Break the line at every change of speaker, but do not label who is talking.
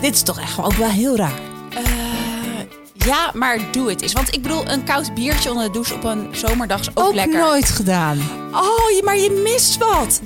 Dit is toch echt gewoon ook wel heel raar.
Ja, maar doe het eens. Want ik bedoel, een koud biertje onder de douche op een zomerdag is ook,
Ook
lekker.
nooit gedaan.
Oh, je- maar je mist wat.